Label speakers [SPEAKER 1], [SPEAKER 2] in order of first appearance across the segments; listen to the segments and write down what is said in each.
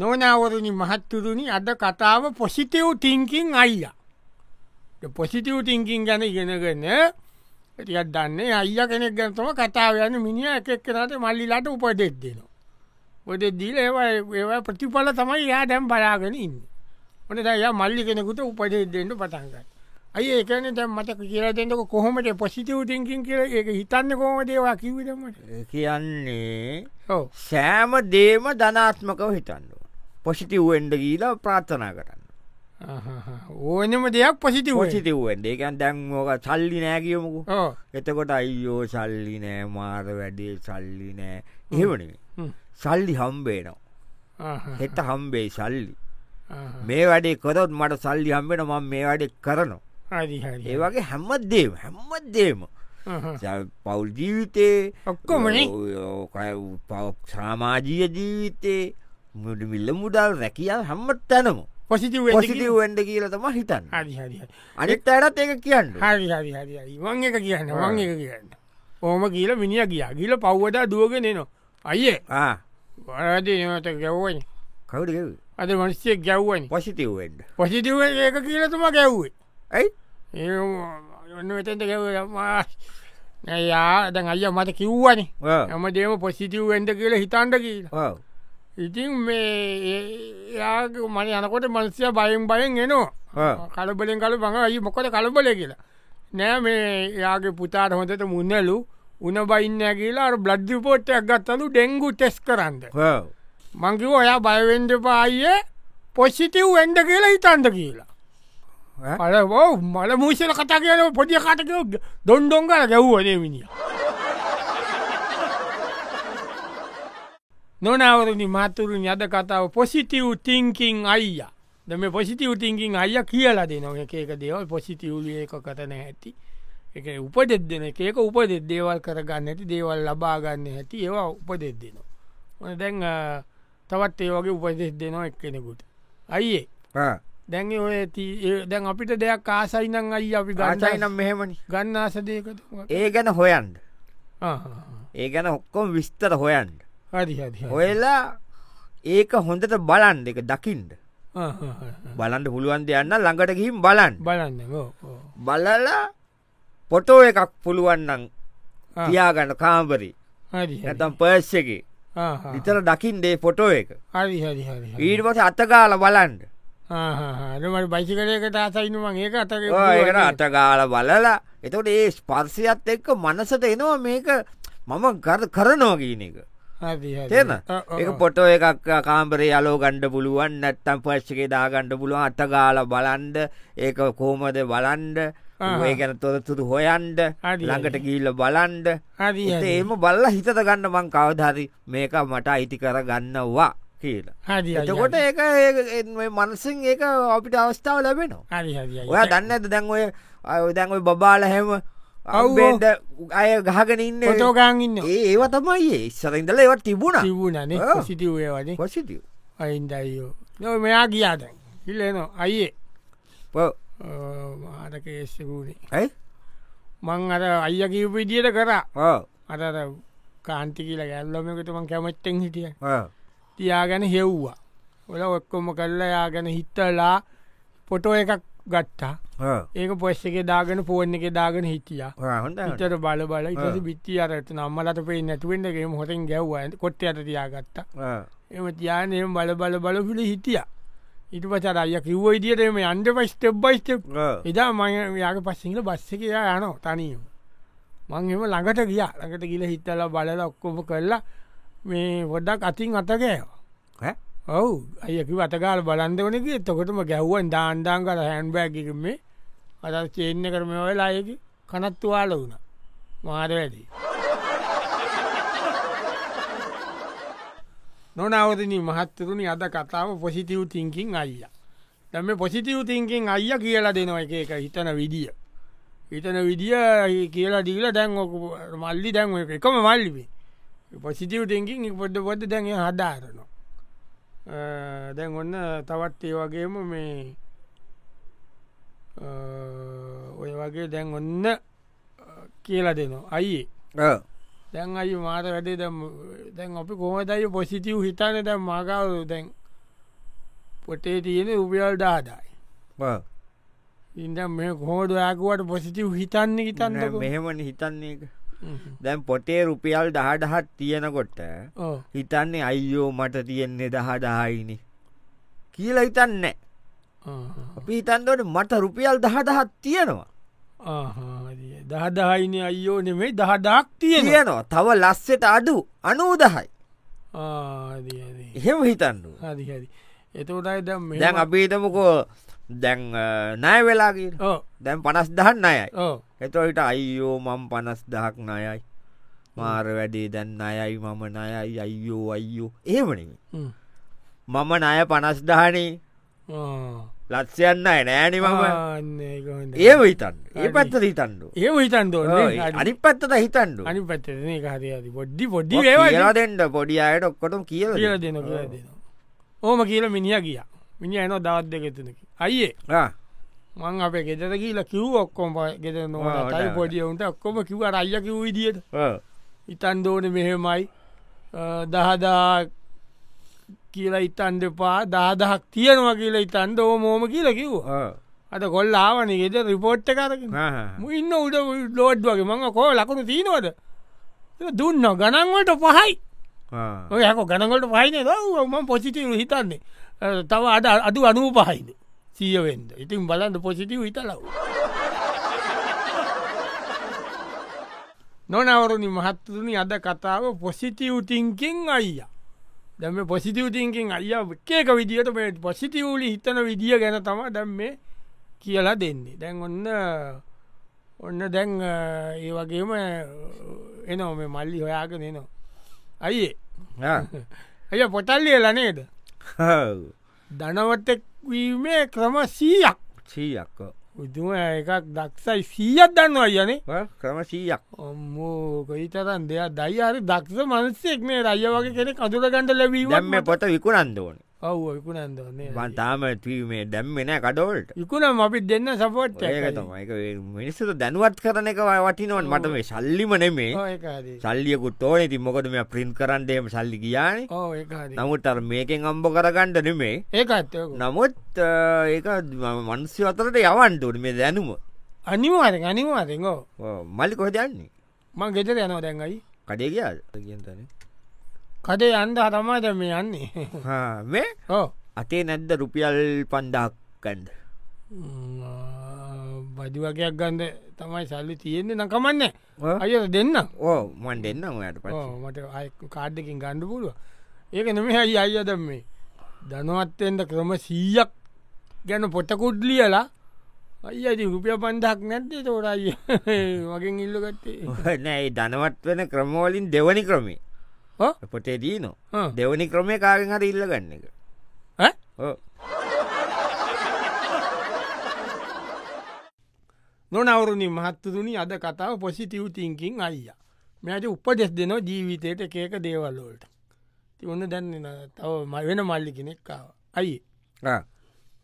[SPEAKER 1] නොනවරණි මහත්තුරුණි අද කතාව පොසිටව් තිංකින් අයිය පොසිටව් තිංකින් ගැන ඉගෙනගන්න ඇතිත් දන්නේ අය කෙනෙක් ගැන්තම කතාව යන මිනිිය එකක් කරට මල්ලිලාට උපදෙත් දෙනවා. පොද දීල ඒවා ප්‍රතිඵල තමයි යා දැම් බලාගෙන ඉන්න. ඕන දය මල්ලි කෙනෙකුට උපදෙදෙන්ට පටන්ගන්න. අය ඒකන දැම් මට කියලා දෙන්නක කොහොමට පොසිටව් තිංකින් කියල ඒ හිතන්න කොහොම දේවා කිවිදමට
[SPEAKER 2] ඒ කියන්නේ
[SPEAKER 1] ඕ
[SPEAKER 2] සෑම දේම ධනාත්මකව හිතන්නුව. පොසිිටිව්ෙන්ඩ ගීලා ප්‍රාථනා කරන්න.
[SPEAKER 1] ඕනම දෙයක් පොසිටව්
[SPEAKER 2] පොසිිටිව්ෙන්ඩ එකන් දැන් මෝක සල්ලි නෑගියමුකු
[SPEAKER 1] ඕ
[SPEAKER 2] එතකොට අයියෝ සල්ලි නෑ මාර වැඩේ සල්ලි නෑ එහෙමන සල්ලි හම්බේනවා. හෙට හම්බේ සල්ලි.
[SPEAKER 1] Uh-huh.
[SPEAKER 2] මේ වැඩේ කොරොත් මට සල්ලි හම්බෙන ම මේ වැඩෙක් කරනවා. ඒ
[SPEAKER 1] හරි
[SPEAKER 2] වගේ හැම්මත්දේම හැම්මත්දේම
[SPEAKER 1] Uh-huh.
[SPEAKER 2] පවුල් ජීවිතේ
[SPEAKER 1] ඔක්කොමනේ.
[SPEAKER 2] ඔය- ඔය- ඔය පව- සාමාජීය ජීවිතේ මුඩ මිල්ල මුඩල් රැකියල් හම්මත් තැනම
[SPEAKER 1] පොසිටව්
[SPEAKER 2] පොසිටව වඩ කියල තම හිතන්න
[SPEAKER 1] හරි හරි හරි.
[SPEAKER 2] අනිත් අයටත් ඒක කියන්න
[SPEAKER 1] හරි හරි හරි හරි මං එක කියන්න මං එක කියන්න ඕම කියල මිනිිය කියා කියල පව්වදා දුවගෙන නවා අයියේ වරද නට ගැව්වන
[SPEAKER 2] කවුඩ
[SPEAKER 1] අද මනිස්සේ ගැව්වනි
[SPEAKER 2] පොසිටව්ෙන්ඩ
[SPEAKER 1] පොසිටව ඒක කියලතුම ගැව්වේ
[SPEAKER 2] ඇයි
[SPEAKER 1] ඒ ඔන්න වෙතට ගැව නෑයාදැන් අය මට කිව්වනි
[SPEAKER 2] Ah.
[SPEAKER 1] හම දේම පොසිටව් වෙන්ඩ කියල හිතන්ඩ කියලා ඉතින් මේ යාගේ මන යනකොට මනසිය බයෙන් බයෙන් එනවා
[SPEAKER 2] ආ.
[SPEAKER 1] කලබලෙන් කල බඟ අයි මොකට කලබල කියලා නෑ මේ යාගේ පුතාට හොඳට මුන්නලු උන බයින්න කියලා අර බ්ලඩ් පෝට්ටයක් ගත්තලු ඩෙංගු ටෙස් කරන්න මංකිව ඔයා බයවෙන්ඩ පායේ පොසිිටව් වෙන්ඩ කියලා හිතන්ද කියලා අර බෝ මල මූෂල කතා කියන පොඩිය කටක දොන්ඩොන් කර ගැව්වනේ මිනිිය නොනවරනි මතුරුන් යද කතාව පොසිටව් තිංකින් අයිය දම පොසිටව් තිංකින් අයිය කියලා දෙනව එකක දේවල් පොසිටව්ලිය එක කතන ඇති එක උපදෙත් දෙන එකක උපදෙත් දේවල් කරගන්න ඇති දේවල් ලබාගන්න ඇති ඒවා උපදෙත් දෙනවා ඕන දැන් අ, තවත් ඒ වගේ උපදෙස් දෙනවා එක් කෙනෙකුට අයියේ දැන් ඔය තී- ඒ- දැන් අපිට දෙයක් ආසයිනං අයි අපි
[SPEAKER 2] ගාචයි
[SPEAKER 1] ගන්නයි
[SPEAKER 2] නම් මෙහෙමනි
[SPEAKER 1] ගන්න ආසදයකට
[SPEAKER 2] ඒ ගැන හොයන්ඩ ඒ ගැන ඔක්කොම විස්තර හොයන්ඩ
[SPEAKER 1] හරි හරි හරි.
[SPEAKER 2] හොයලා ඒක හොඳට බලන්ඩ එක දකිින්ඩ
[SPEAKER 1] ආ, ආ, ආ, ආ.
[SPEAKER 2] බලන්ඩ පුළුවන් දෙයන්න ළඟට ගහිම් බලන්
[SPEAKER 1] බලන්න ඕ, ඕ.
[SPEAKER 2] බලලා පොටෝ එකක් පුළුවන්නන්
[SPEAKER 1] ආ,
[SPEAKER 2] තියාගන්න කාම්බරි
[SPEAKER 1] හරි හරි.
[SPEAKER 2] නැතම් පර්ස්සක
[SPEAKER 1] ආ, ආ.
[SPEAKER 2] විතර දකිින්ඩේ පොටෝ එක
[SPEAKER 1] හරි හරි හරි හරි.
[SPEAKER 2] ඊටමස අතගාල බලන්ඩ
[SPEAKER 1] ආ, ආ, ආ. අර මට බයිසිකලයකට ආසයිනුවන් ඒක අතර
[SPEAKER 2] ඒකට අතගාල බලලා එතට ඒ ස්පර්සියත් එක්ක මනසට එනවා මේක මම ගර කරනෝ කියන එක තේන ඒ පොටෝ එකක් කාම්බරේ යලෝ ගණ්ඩ පුළුවන් නැත්තම් පශ්චකේ දාගණ්ඩ පුළුවන් අතගාල බලන්ඩ ඒක කෝමද බලන්ඩ
[SPEAKER 1] ආහා.
[SPEAKER 2] ඒ ගැන තොරතුරු හොයන්ඩ
[SPEAKER 1] හරි.
[SPEAKER 2] ළඟට ගීල්ල බලන්ඩ
[SPEAKER 1] හරි හරි
[SPEAKER 2] ඒම බල්ල හිතත ගන්න මං කවධරි මේක මට අයිති කර ගන්නවා කියලා.
[SPEAKER 1] හරි, හරි,
[SPEAKER 2] එතකොට
[SPEAKER 1] හරි.
[SPEAKER 2] ඒක ඒ මනසින් ඒක අපිට අවස්ථාව ලැබෙනවා.
[SPEAKER 1] හරි හරි හරි.
[SPEAKER 2] ඔය දන්න ඇත දැන් ඔය අය දැන් ඔය බබාල හැම අවබේට අය ගහගෙන ඉන්න
[SPEAKER 1] පොටෝගාන් ඉන්න
[SPEAKER 2] ඒ ඒව තමයි ඒ ඉස්සර ඉඳල ඒවත් තිබුණා
[SPEAKER 1] තිබුණනේ
[SPEAKER 2] ආ.
[SPEAKER 1] සිටිවේ වනේ
[SPEAKER 2] පොසිටව
[SPEAKER 1] අයින්දයිෝ නො මෙයා ගියාද ඉල්ලනො අයියේ ආරකේස්සකුණේ
[SPEAKER 2] ඇයි
[SPEAKER 1] මං අර අයිය කිව්පු විදියට කර අරර කාන්ති කියලා ගැල්ලොමකටම කැමච්චෙන් හිටිය තියාගැන හෙව්වා ඔල ඔක්කොම කරලා යාගැන හිත්තලා පොටෝ එකක් ගත්තා ඒක පොස්ස එක දාගෙන පෝර්ණ එක දාගෙන හිටියා
[SPEAKER 2] හොඳ
[SPEAKER 1] ඉතර බල බල ඉතස
[SPEAKER 2] ආ.
[SPEAKER 1] බිත්ති අරට නම්මලට පේ නැටුවෙන්ටගේ හොතින් ගැව්ව කොට්ට අට තියාගත්තා එම තියානම බල බල බලපිට හිටිය ඉට පචර අය කිව්ව ඉදිටම අන්ඩ පස්ටබ් බයිස්ටප් එදා මං යාග පස්සිංල බස්ස කියලා යනෝ තනියම මං එම ළඟට ගියා ළඟට ගිල හිතල බලල ඔක්කොම කරලා මේ පොඩ්ඩක් අතින් අතකෑව ඔවු අයකි වතකාල බලන්දවනක එතකොටම ගැහ්වන් දාන්දාන් කර හැන්බෑකිරමේ අද චේන්න කරම ඔයලා අයකි කනත්තුවාල වුණ මාර වැඩි නොනවතින මහත්තරුණි අද කතාව පොසිටව් තිංකින් අයිය දැම පොසිටව් තිංකින් අයිය කියලා දෙනවා එක එක හිතන විදිිය හිතන විදිිය කියලා දීල දැන් ඔක මල්ලි දැන් ඔය එකම මල්ලිවේ පොසිටව් තිංකින් පොඩ්ඩ පොඩ දැන් එයා හදාරනවා අ, දැන් ඔන්න තවත් ඒ වගේම මේ අ, ඔය වගේ දැන් ඔන්න අ, කියලා දෙනවා අයියේ දැන් අයි මාත වැඩේ දැම් දැන් අපි කොහදයි පොසිටව් හිතන දැම් මගාව දැන් පොටේ තියෙන උපියල් දාදායි ඉද මේ කෝඩ යාකුවට පොසිටව් හිතන්න හිතන්න
[SPEAKER 2] මෙහෙමන හිතන්නේ එක. දැන් පොටේ රුපියල් දහඩහත් තියෙනකොට හිතන්නේ අයියෝ මට තියෙන්නේ දහදායිනි කියලා හිතන්න අපි හිතන්දට මට රුපියල් දහදහත් තියෙනවා
[SPEAKER 1] දහදායින අයියෝ නෙමේ දහදාක් තියෙන
[SPEAKER 2] තියෙනවා තව ලස්සට අඩු අනූ දහයි එහෙම හිතන්න
[SPEAKER 1] හරිහරි එතකොටයි දැම්
[SPEAKER 2] දැන් අපිතමකෝ දැන් නය වෙලාගේ
[SPEAKER 1] ඕ
[SPEAKER 2] දැන් පනස් දහන්න අයයි
[SPEAKER 1] ඕ
[SPEAKER 2] එතොයිට අයියෝ මම් පනස් දහක් නයයි මාර වැඩේ දැන් අයයි මම නයයි අයියෝ අයියෝ ඒමනම
[SPEAKER 1] හ්ම්.
[SPEAKER 2] මම නය පනස් දහනේ
[SPEAKER 1] ආ.
[SPEAKER 2] ලත්සයන්න අය නෑනි මම
[SPEAKER 1] ආන්න ඒක හොඳයි.
[SPEAKER 2] ඒම හිතන්න ඒ
[SPEAKER 1] හරි.
[SPEAKER 2] පත්තට හිතන්ඩු
[SPEAKER 1] ඒව හිතන්ද
[SPEAKER 2] අනි පත්තට හිතන්ඩු
[SPEAKER 1] අනි පත්තන හරි පොඩ්ඩි පොඩ්ඩි ඒවා
[SPEAKER 2] ඒවාදෙන්ට පොඩි අයට ඔක්කොටම කියල
[SPEAKER 1] කියල දෙන කියලා දෙනවා. ඕම කියල මිනිිය ගිය මිනි එන දවත් දෙකෙතනකි අයියේ මං අප ගෙතර කියලා කිව් ඔක්කොම ගෙත
[SPEAKER 2] ආ,
[SPEAKER 1] නොටයි
[SPEAKER 2] ඔව්.
[SPEAKER 1] පොඩියවුන්ට ඔක්කොම කිව රයිය කිව් විදිියට ඉතන් දෝන මෙහෙමයි දහදා කියලා ඉතන්ඩ පා දාදහක් තියෙනවා කියලා ඉතන්ද ඕ මෝම කියලා කිව් අට කොල් ආවන ගෙත රිපෝට්ට කරගෙන ඉන්න උඩ ලෝඩ් වගේ මං කෝ ලකුණු තිීනවද දුන්න ගණන්වලට පහයි ඔයක ගණගලට පයින ම පොසිටව හිතන්නේ අ, තව අද අඩු අනුව පහයිද සියවෙන්ද ඉතින් බලන්න පොසිටව හිතලව නොනවරුණි මහත්තුනි අද කතාව පොසිටව් තිංකින් අයිය දැම පොසිටව් තිංකින් අය එකක විදිට මේ පොසිටවලි හිතන විදිිය ගැන තම දැම් මේ කියලා දෙන්නේ දැන් ඔන්න ඔන්න දැන් අ, ඒ වගේම එනෝ මේ මල්ලි හොයාගෙන නවා අයියේ ඇය පොටල්ලිය ලනේද දනවතෙක්වීමේ ක්‍රම සීයක්
[SPEAKER 2] සීයක්කෝ
[SPEAKER 1] උතුම එකක් දක්ෂයි සීයත් දන්නවා යනේ
[SPEAKER 2] ක්‍රම සීයක්
[SPEAKER 1] ඔම්මෝ කොයිතරන් දෙයක් දයියාරි දක්ෂ මනස්සෙක් මේ රය වගේ කෙනෙ කඳුරගඩ ලැබීම
[SPEAKER 2] දැම්ම පොත විකුණන්ද ඕන
[SPEAKER 1] ඔව් ඉකුණන්දන්නේ
[SPEAKER 2] බන්තාම ටීමේ දැම්මෙන කඩවල්ට
[SPEAKER 1] ඉකුණම් අපි දෙන්න සපෝට්
[SPEAKER 2] ඒක තමයි ඒක ඒ මිනිස්සුට දැනුවත් කරන එක ව- වටිනවන් මට මේ සල්ලිම නෙමේ සල්ලියකුත් ඕන ඉතින් මොකද මේ ප්‍රින්් කරන්න එහෙම සල්ලි කියානේ
[SPEAKER 1] ඕ ඒකාද
[SPEAKER 2] නමුත් අර මේකෙන් අම්බ කරගණ්ඩ නෙමේ
[SPEAKER 1] ඒකත්යකු
[SPEAKER 2] නමුත් අ, ඒක මන්සි අතරට යවන්ටුට මේ දැනුම
[SPEAKER 1] අනිවාරෙන් අනිවාරෙන්ගෝ
[SPEAKER 2] ඔව්. මල්ලි කොහදයන්නේ
[SPEAKER 1] මං ගෙතර යනවා දැන්ගයි
[SPEAKER 2] කඩේ කියාද කියතන
[SPEAKER 1] කඩේ අන්ද හතමාද මේ යන්නේ
[SPEAKER 2] මේ
[SPEAKER 1] ඕ
[SPEAKER 2] අතේ නැද්ද රුපියල් පන්ඩක් කන්ඩ
[SPEAKER 1] බදි වගයක් ගන්ද තමයි සල්ලි තියෙන්නේ නකමන්න අය දෙන්න
[SPEAKER 2] ඕ මන් දෙන්න ඔයට ප
[SPEAKER 1] ඔව්, මට අය කාඩ්ඩකින් ගණ්ඩ පුළුව ඒක නෙමේ ඇයි අයදම් මේ දනුවත්තෙන්ට ක්‍රම සීයක් ගැන පොටකුඩ් ලියලා අයි අති රුපිය පන්ඩක් නැත්තේ තෝරයි වගෙන් ඉල්ලගත්තේ
[SPEAKER 2] නෑ දනවත් වෙන ක්‍රමෝලින් දෙවනි ක්‍රමේ
[SPEAKER 1] ඕ?
[SPEAKER 2] පොටේ දීනවා
[SPEAKER 1] ආ.
[SPEAKER 2] දෙවනි ක්‍රමය කාගෙන් හරි ඉල්ලගන්න එක
[SPEAKER 1] ඈ?
[SPEAKER 2] ඕ.
[SPEAKER 1] නොනවරුණි මහත්තතුනි අද කතාව පොසිටව් තිංකින් අයිය මෙයට උපදෙස් දෙනෝ ජීවිතයට එකක දේවල්ලෝලට තිවන්න දැන්න තව ම- වෙන මල්ලි කෙනෙක්කාව අයි
[SPEAKER 2] ආ.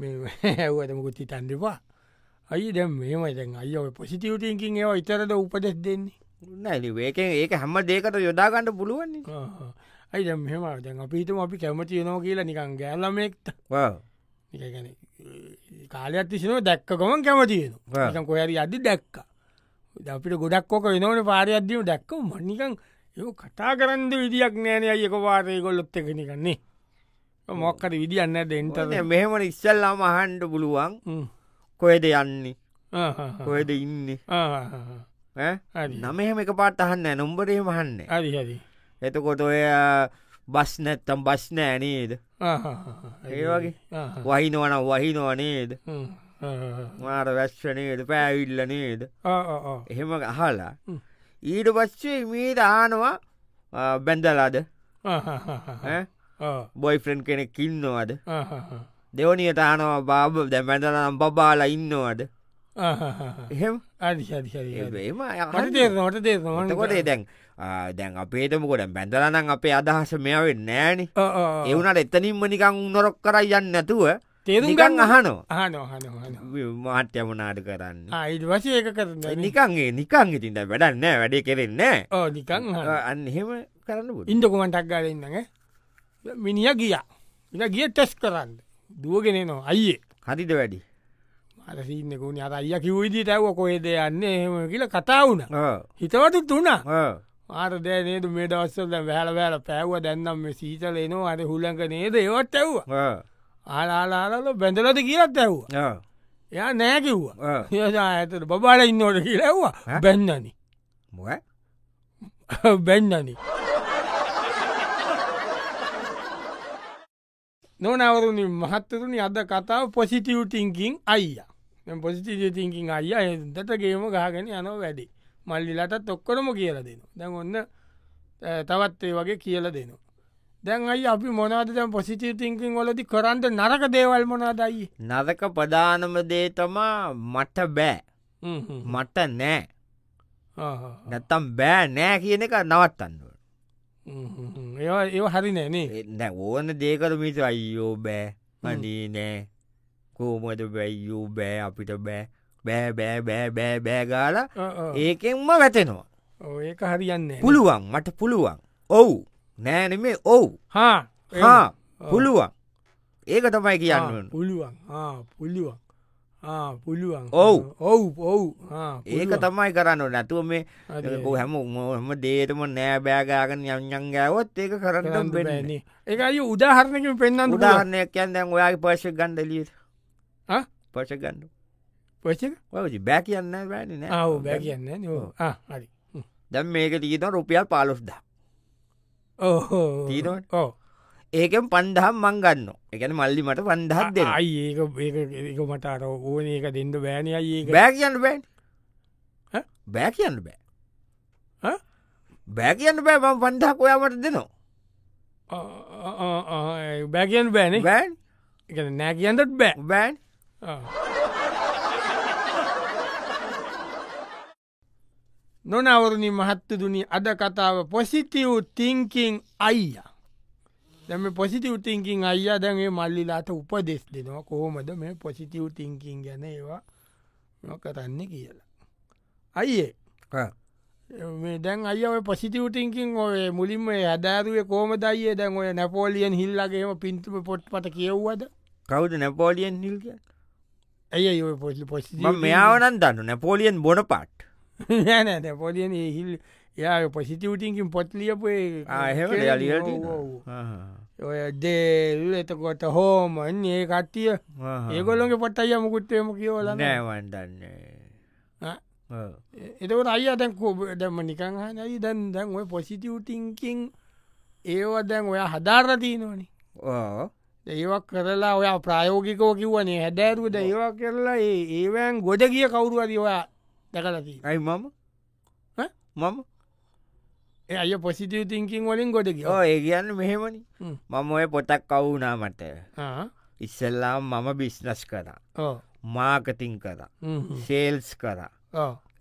[SPEAKER 1] ඇවතමකුත් හිතන්ඩවා අයි දැම් මේමයි දැන් අයෝ පොසිටව් තිංකින් ඒවා ඉතරද උපදෙස් දෙන්නේ
[SPEAKER 2] නෑ ඒකෙන් ඒක හැම දේකට යොදාගන්නට පුළුවන්නේ
[SPEAKER 1] ආහා. අයි දැම් මෙම දැන් අපිහිතම අපි කැමති නෝ කියලා නිකන් ගෑල්ලමෙක්ත ගැන කාලයක් තිසිනව දැක්කකොමන් කැමතියෙන
[SPEAKER 2] ආ.
[SPEAKER 1] ක කොහරි අදි දැක්ක ද අපිට ගොඩක්කොක වෙනවන පාරයක්දීම දැක්ක මනිකං ඒ කතා කරන්න විදිියක් නෑන අයක පාරය කොල්ලොත් එකනිකන්නේ මොක්කට විදිියන්න දෙන්ටද
[SPEAKER 2] මෙහෙමන ඉස්සල්ලාම අහන්ඩ පුළුවන් කොයද යන්නේ කොයද ඉන්න නම එහෙම එක පාට අහන්න නොම්බරේ මහන්න
[SPEAKER 1] හරි හරි
[SPEAKER 2] එතකොට ඔය බස් නැත්තම් බස් නෑ නේද ඒ වගේ. වහිනවන වහිනව නේද මාර වැශ්ව නේද පෑවිල්ල නේද එහෙම අහලා
[SPEAKER 1] හ්ම්.
[SPEAKER 2] ඊට පස්සේ මීට ආනවා ආ, බැඳලාද බොයිෆ්‍රන්් කෙනෙක් ඉන්නවාද දෙවනිය තානවා බාබ දැ බැඳලනම් බබාලා ඉන්නවාද එහෙම
[SPEAKER 1] අරිහරිහරි
[SPEAKER 2] එම
[SPEAKER 1] මට තේරනට
[SPEAKER 2] එතකොට
[SPEAKER 1] තේරනට
[SPEAKER 2] දැන් ආ, දැන් අපේටමකොට බැඳලනම් අපේ අදහස මෙයාවෙන් නෑනි එවුනට එතනින්ම නිකං නොරොක් කරයි යන්න ඇතුව
[SPEAKER 1] තේරුම්
[SPEAKER 2] නිකං
[SPEAKER 1] ගන්න
[SPEAKER 2] අහනෝ
[SPEAKER 1] හන හන
[SPEAKER 2] මාට්‍යමනාට කරන්න
[SPEAKER 1] ආයිඩ වශය එක කරන්න
[SPEAKER 2] නිකන්ගේ නිකං ඉතින්ට වැඩන්න වැඩේ කෙරෙන්නේ
[SPEAKER 1] ඕ නිකං
[SPEAKER 2] අන්න එහෙම කරන්න පුට
[SPEAKER 1] ඉන්ඩකුමටක් ගලන්නග මිනිිය ගිය ඉ ගිය ටෙස් කරන්න දුවගෙන නවා අයියේ
[SPEAKER 2] හරිද වැඩි
[SPEAKER 1] අරසින්නකුණ අර අය කිවවිදි තැව කොහෙද යන්න එහෙම කියල කතා වුණ හිතවතු තුනා ආර දෑනේද මේ දවස්සද වැහල වැෑල පැව්ව දැන්නම් මේ සීතල එනවා අර හුලක නේද ඒවත් ඇව්ව ආලාලාලල බැඳලද කියලත් ඇැව්ව එයා නෑ කිව්වා යසා ඇතට බබාල ඉන්නවට කියලැව්වා බැන්නනි බැන්නනි නොනවරුණි මහත්තරුණි අද කතාව පොසිටව් තිංකින් අයිය පොසිටිය තිංකින් අයිය එදට ගේම ගහගෙන යනෝ වැඩි මල්ලිලටත් ඔක්කොටම කියල දෙනු දැන් ඔන්න තවත් ඒ වගේ කියල දෙනු දැන් අයි අපි මොනාද පොසිටව තිංකින් ොලති කරන්ට නරක දේවල් මොනාදයි
[SPEAKER 2] නදක ප්‍රධානම දේ තමා මට බෑ මට නෑ නැත්තම් බෑ නෑ කියන එක නවත්තන්නුව
[SPEAKER 1] ඒ ඒ හරි නෑනේ
[SPEAKER 2] නෑ ඕන දේකර මිස අයියෝ බෑ මඩී නෑ කෝමට බැයියෝ බෑ අපිට බෑ බෑ බෑ බෑ බෑ බෑගාල ඒකෙන්ම වැටෙනවා
[SPEAKER 1] ඒක හරියන්න
[SPEAKER 2] පුළුවන් මට පුළුවන් ඔවු නෑනෙමේ ඔවු
[SPEAKER 1] හා
[SPEAKER 2] හා පුළුවන් ඒක තමයි කියන්න
[SPEAKER 1] පුළුවන් පුළුවන් පුළුවන්
[SPEAKER 2] ඔව්
[SPEAKER 1] ඔව් ඔව්
[SPEAKER 2] ඒක තමයි කරන්න නැතුව මේ හැම හම දේතම නෑ බෑගාගන යංයන් ගෑවොත් ඒක කරන්න
[SPEAKER 1] බෙනන ඒකයි උදාහරණකින් පෙන්න්න
[SPEAKER 2] උදාහරණයක් කියන් දැන් ඔයාගේ පර්ශ ගන්ඩලිය පර්ශ ගන්න පච බෑ කියන්න බෑන
[SPEAKER 1] ආව බෑ කියන්න හරි
[SPEAKER 2] දැම් මේක තීත රුපියල් පාලොස්්ද
[SPEAKER 1] ඕහෝ
[SPEAKER 2] තීනට
[SPEAKER 1] ඕ
[SPEAKER 2] ඒකෙන් පන්දහම් මංගන්න එකන මල්ලි මට පන්දහත් දෙ
[SPEAKER 1] අයි ඒක මට අර ඕන ඒක දෙන්ඩ බෑන අයි
[SPEAKER 2] බෑ කියන්න බෑ බෑ කියන්න බෑ බෑ කියන්න බෑ බම් පන්දහක් ඔයාමට
[SPEAKER 1] දෙනවා බෑගන් බෑන
[SPEAKER 2] බෑන්
[SPEAKER 1] එක නෑ කියන්නත් බෑ
[SPEAKER 2] බෑන්
[SPEAKER 1] නොනවරණි මහත්තදුනි අද කතාව පොසිටව් තිංකින් අයියා දැම පොසිටව් තිංකින් අයියා දැන්ගේ මල්ලිලාට උපදෙස් දෙනවා කොහොමද මේ පොසිටව් තිංකින් ගැන ඒවා නොකරන්න කියලා. අයියේ දැන් අය පොසිටව් තිංකින් ඔය මුලින්ම හදාරුවේ කෝම දයියේ දැන් ඔය නැපෝලියන් හිල්ලගේම පින්තුම පොට් පට කියව්වද
[SPEAKER 2] කවුද නැපෝලියන් හිල්ග
[SPEAKER 1] ඇයි පොසි පොසි
[SPEAKER 2] මෙයාාවනන් දන්න නැපෝලියන් බොන පාට්
[SPEAKER 1] නෑ නැපෝලියන් හිල් යා පොසිටවටින්කින් පොත් ලියපු ඔය දේල් එතකොට හෝමන් ඒ කට්ටිය ඒගොල්ලොගේ පොට් අය මුකුත්තයම කියවල
[SPEAKER 2] නෑවන්දන්න
[SPEAKER 1] එතකට අයි අතැන් කෝබදම නිකං හනයි දැන් දැන් ඔය පොසිටවටිංකින් ඒව දැන් ඔය හදාරතිීනෝනි ඒවක් කරලා ඔය ප්‍රයෝගිකෝ කිවනේ හැදෑරුද ඒවා කරලා ඒ ඒවෑන් ගොඩ කිය කවුරුවදවා දැකලති
[SPEAKER 2] ඇයි මම මම
[SPEAKER 1] ඇය පොසිටව තිංකින් වලින් ගොඩ
[SPEAKER 2] ඕ ඒ කියන්න මෙහෙමනි මම ඔය පොතක් කවුනා මට ඉස්සල්ලා මම බිස්නස් කරා මාකතින් කරා සේල්ස් කරා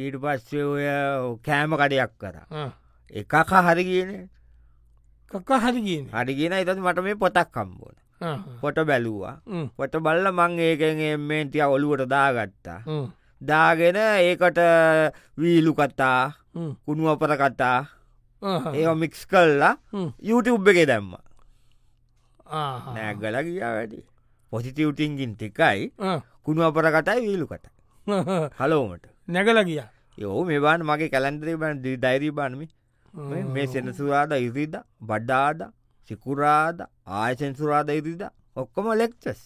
[SPEAKER 2] ඊට පස්සේ ඔය කෑම කඩයක් කරා එකක හරි කියන
[SPEAKER 1] කක හරි කියන
[SPEAKER 2] හරි කියන එතත් මට මේ පොතක් කම්බෝන පොට බැලූවා පොට බල්ල මං ඒකෙන් එමෙන් තිය ඔලුවට දාගත්තා දාගෙන ඒකට වීලු කතා කුණු අපර කතා ඒ මික්ස් කල්ලා යුටඋබ් එකේ දැම්ම නෑගල ගියා වැඩි පොසිතිවටින්ගින් ටිකයි කුණු අපර කතයි වීලු කත හලෝමට
[SPEAKER 1] නැගල ගිය
[SPEAKER 2] යෝ මෙබාන මගේ කැලන්දරේ බන් දෛරී බානමි මේ සෙනසුරාද ඉරිද බඩ්ඩාද සිකුරාද ආයසෙන්සුරාද ඉරිද ඔක්කොම ලෙක්චස්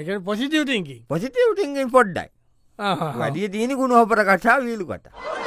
[SPEAKER 1] එක පොසිටවටින්කින්
[SPEAKER 2] පොසිටවටින්ගින් පොඩ්ඩයි වැඩිය තියෙන ගුණ හොපර කටා වීලු කතා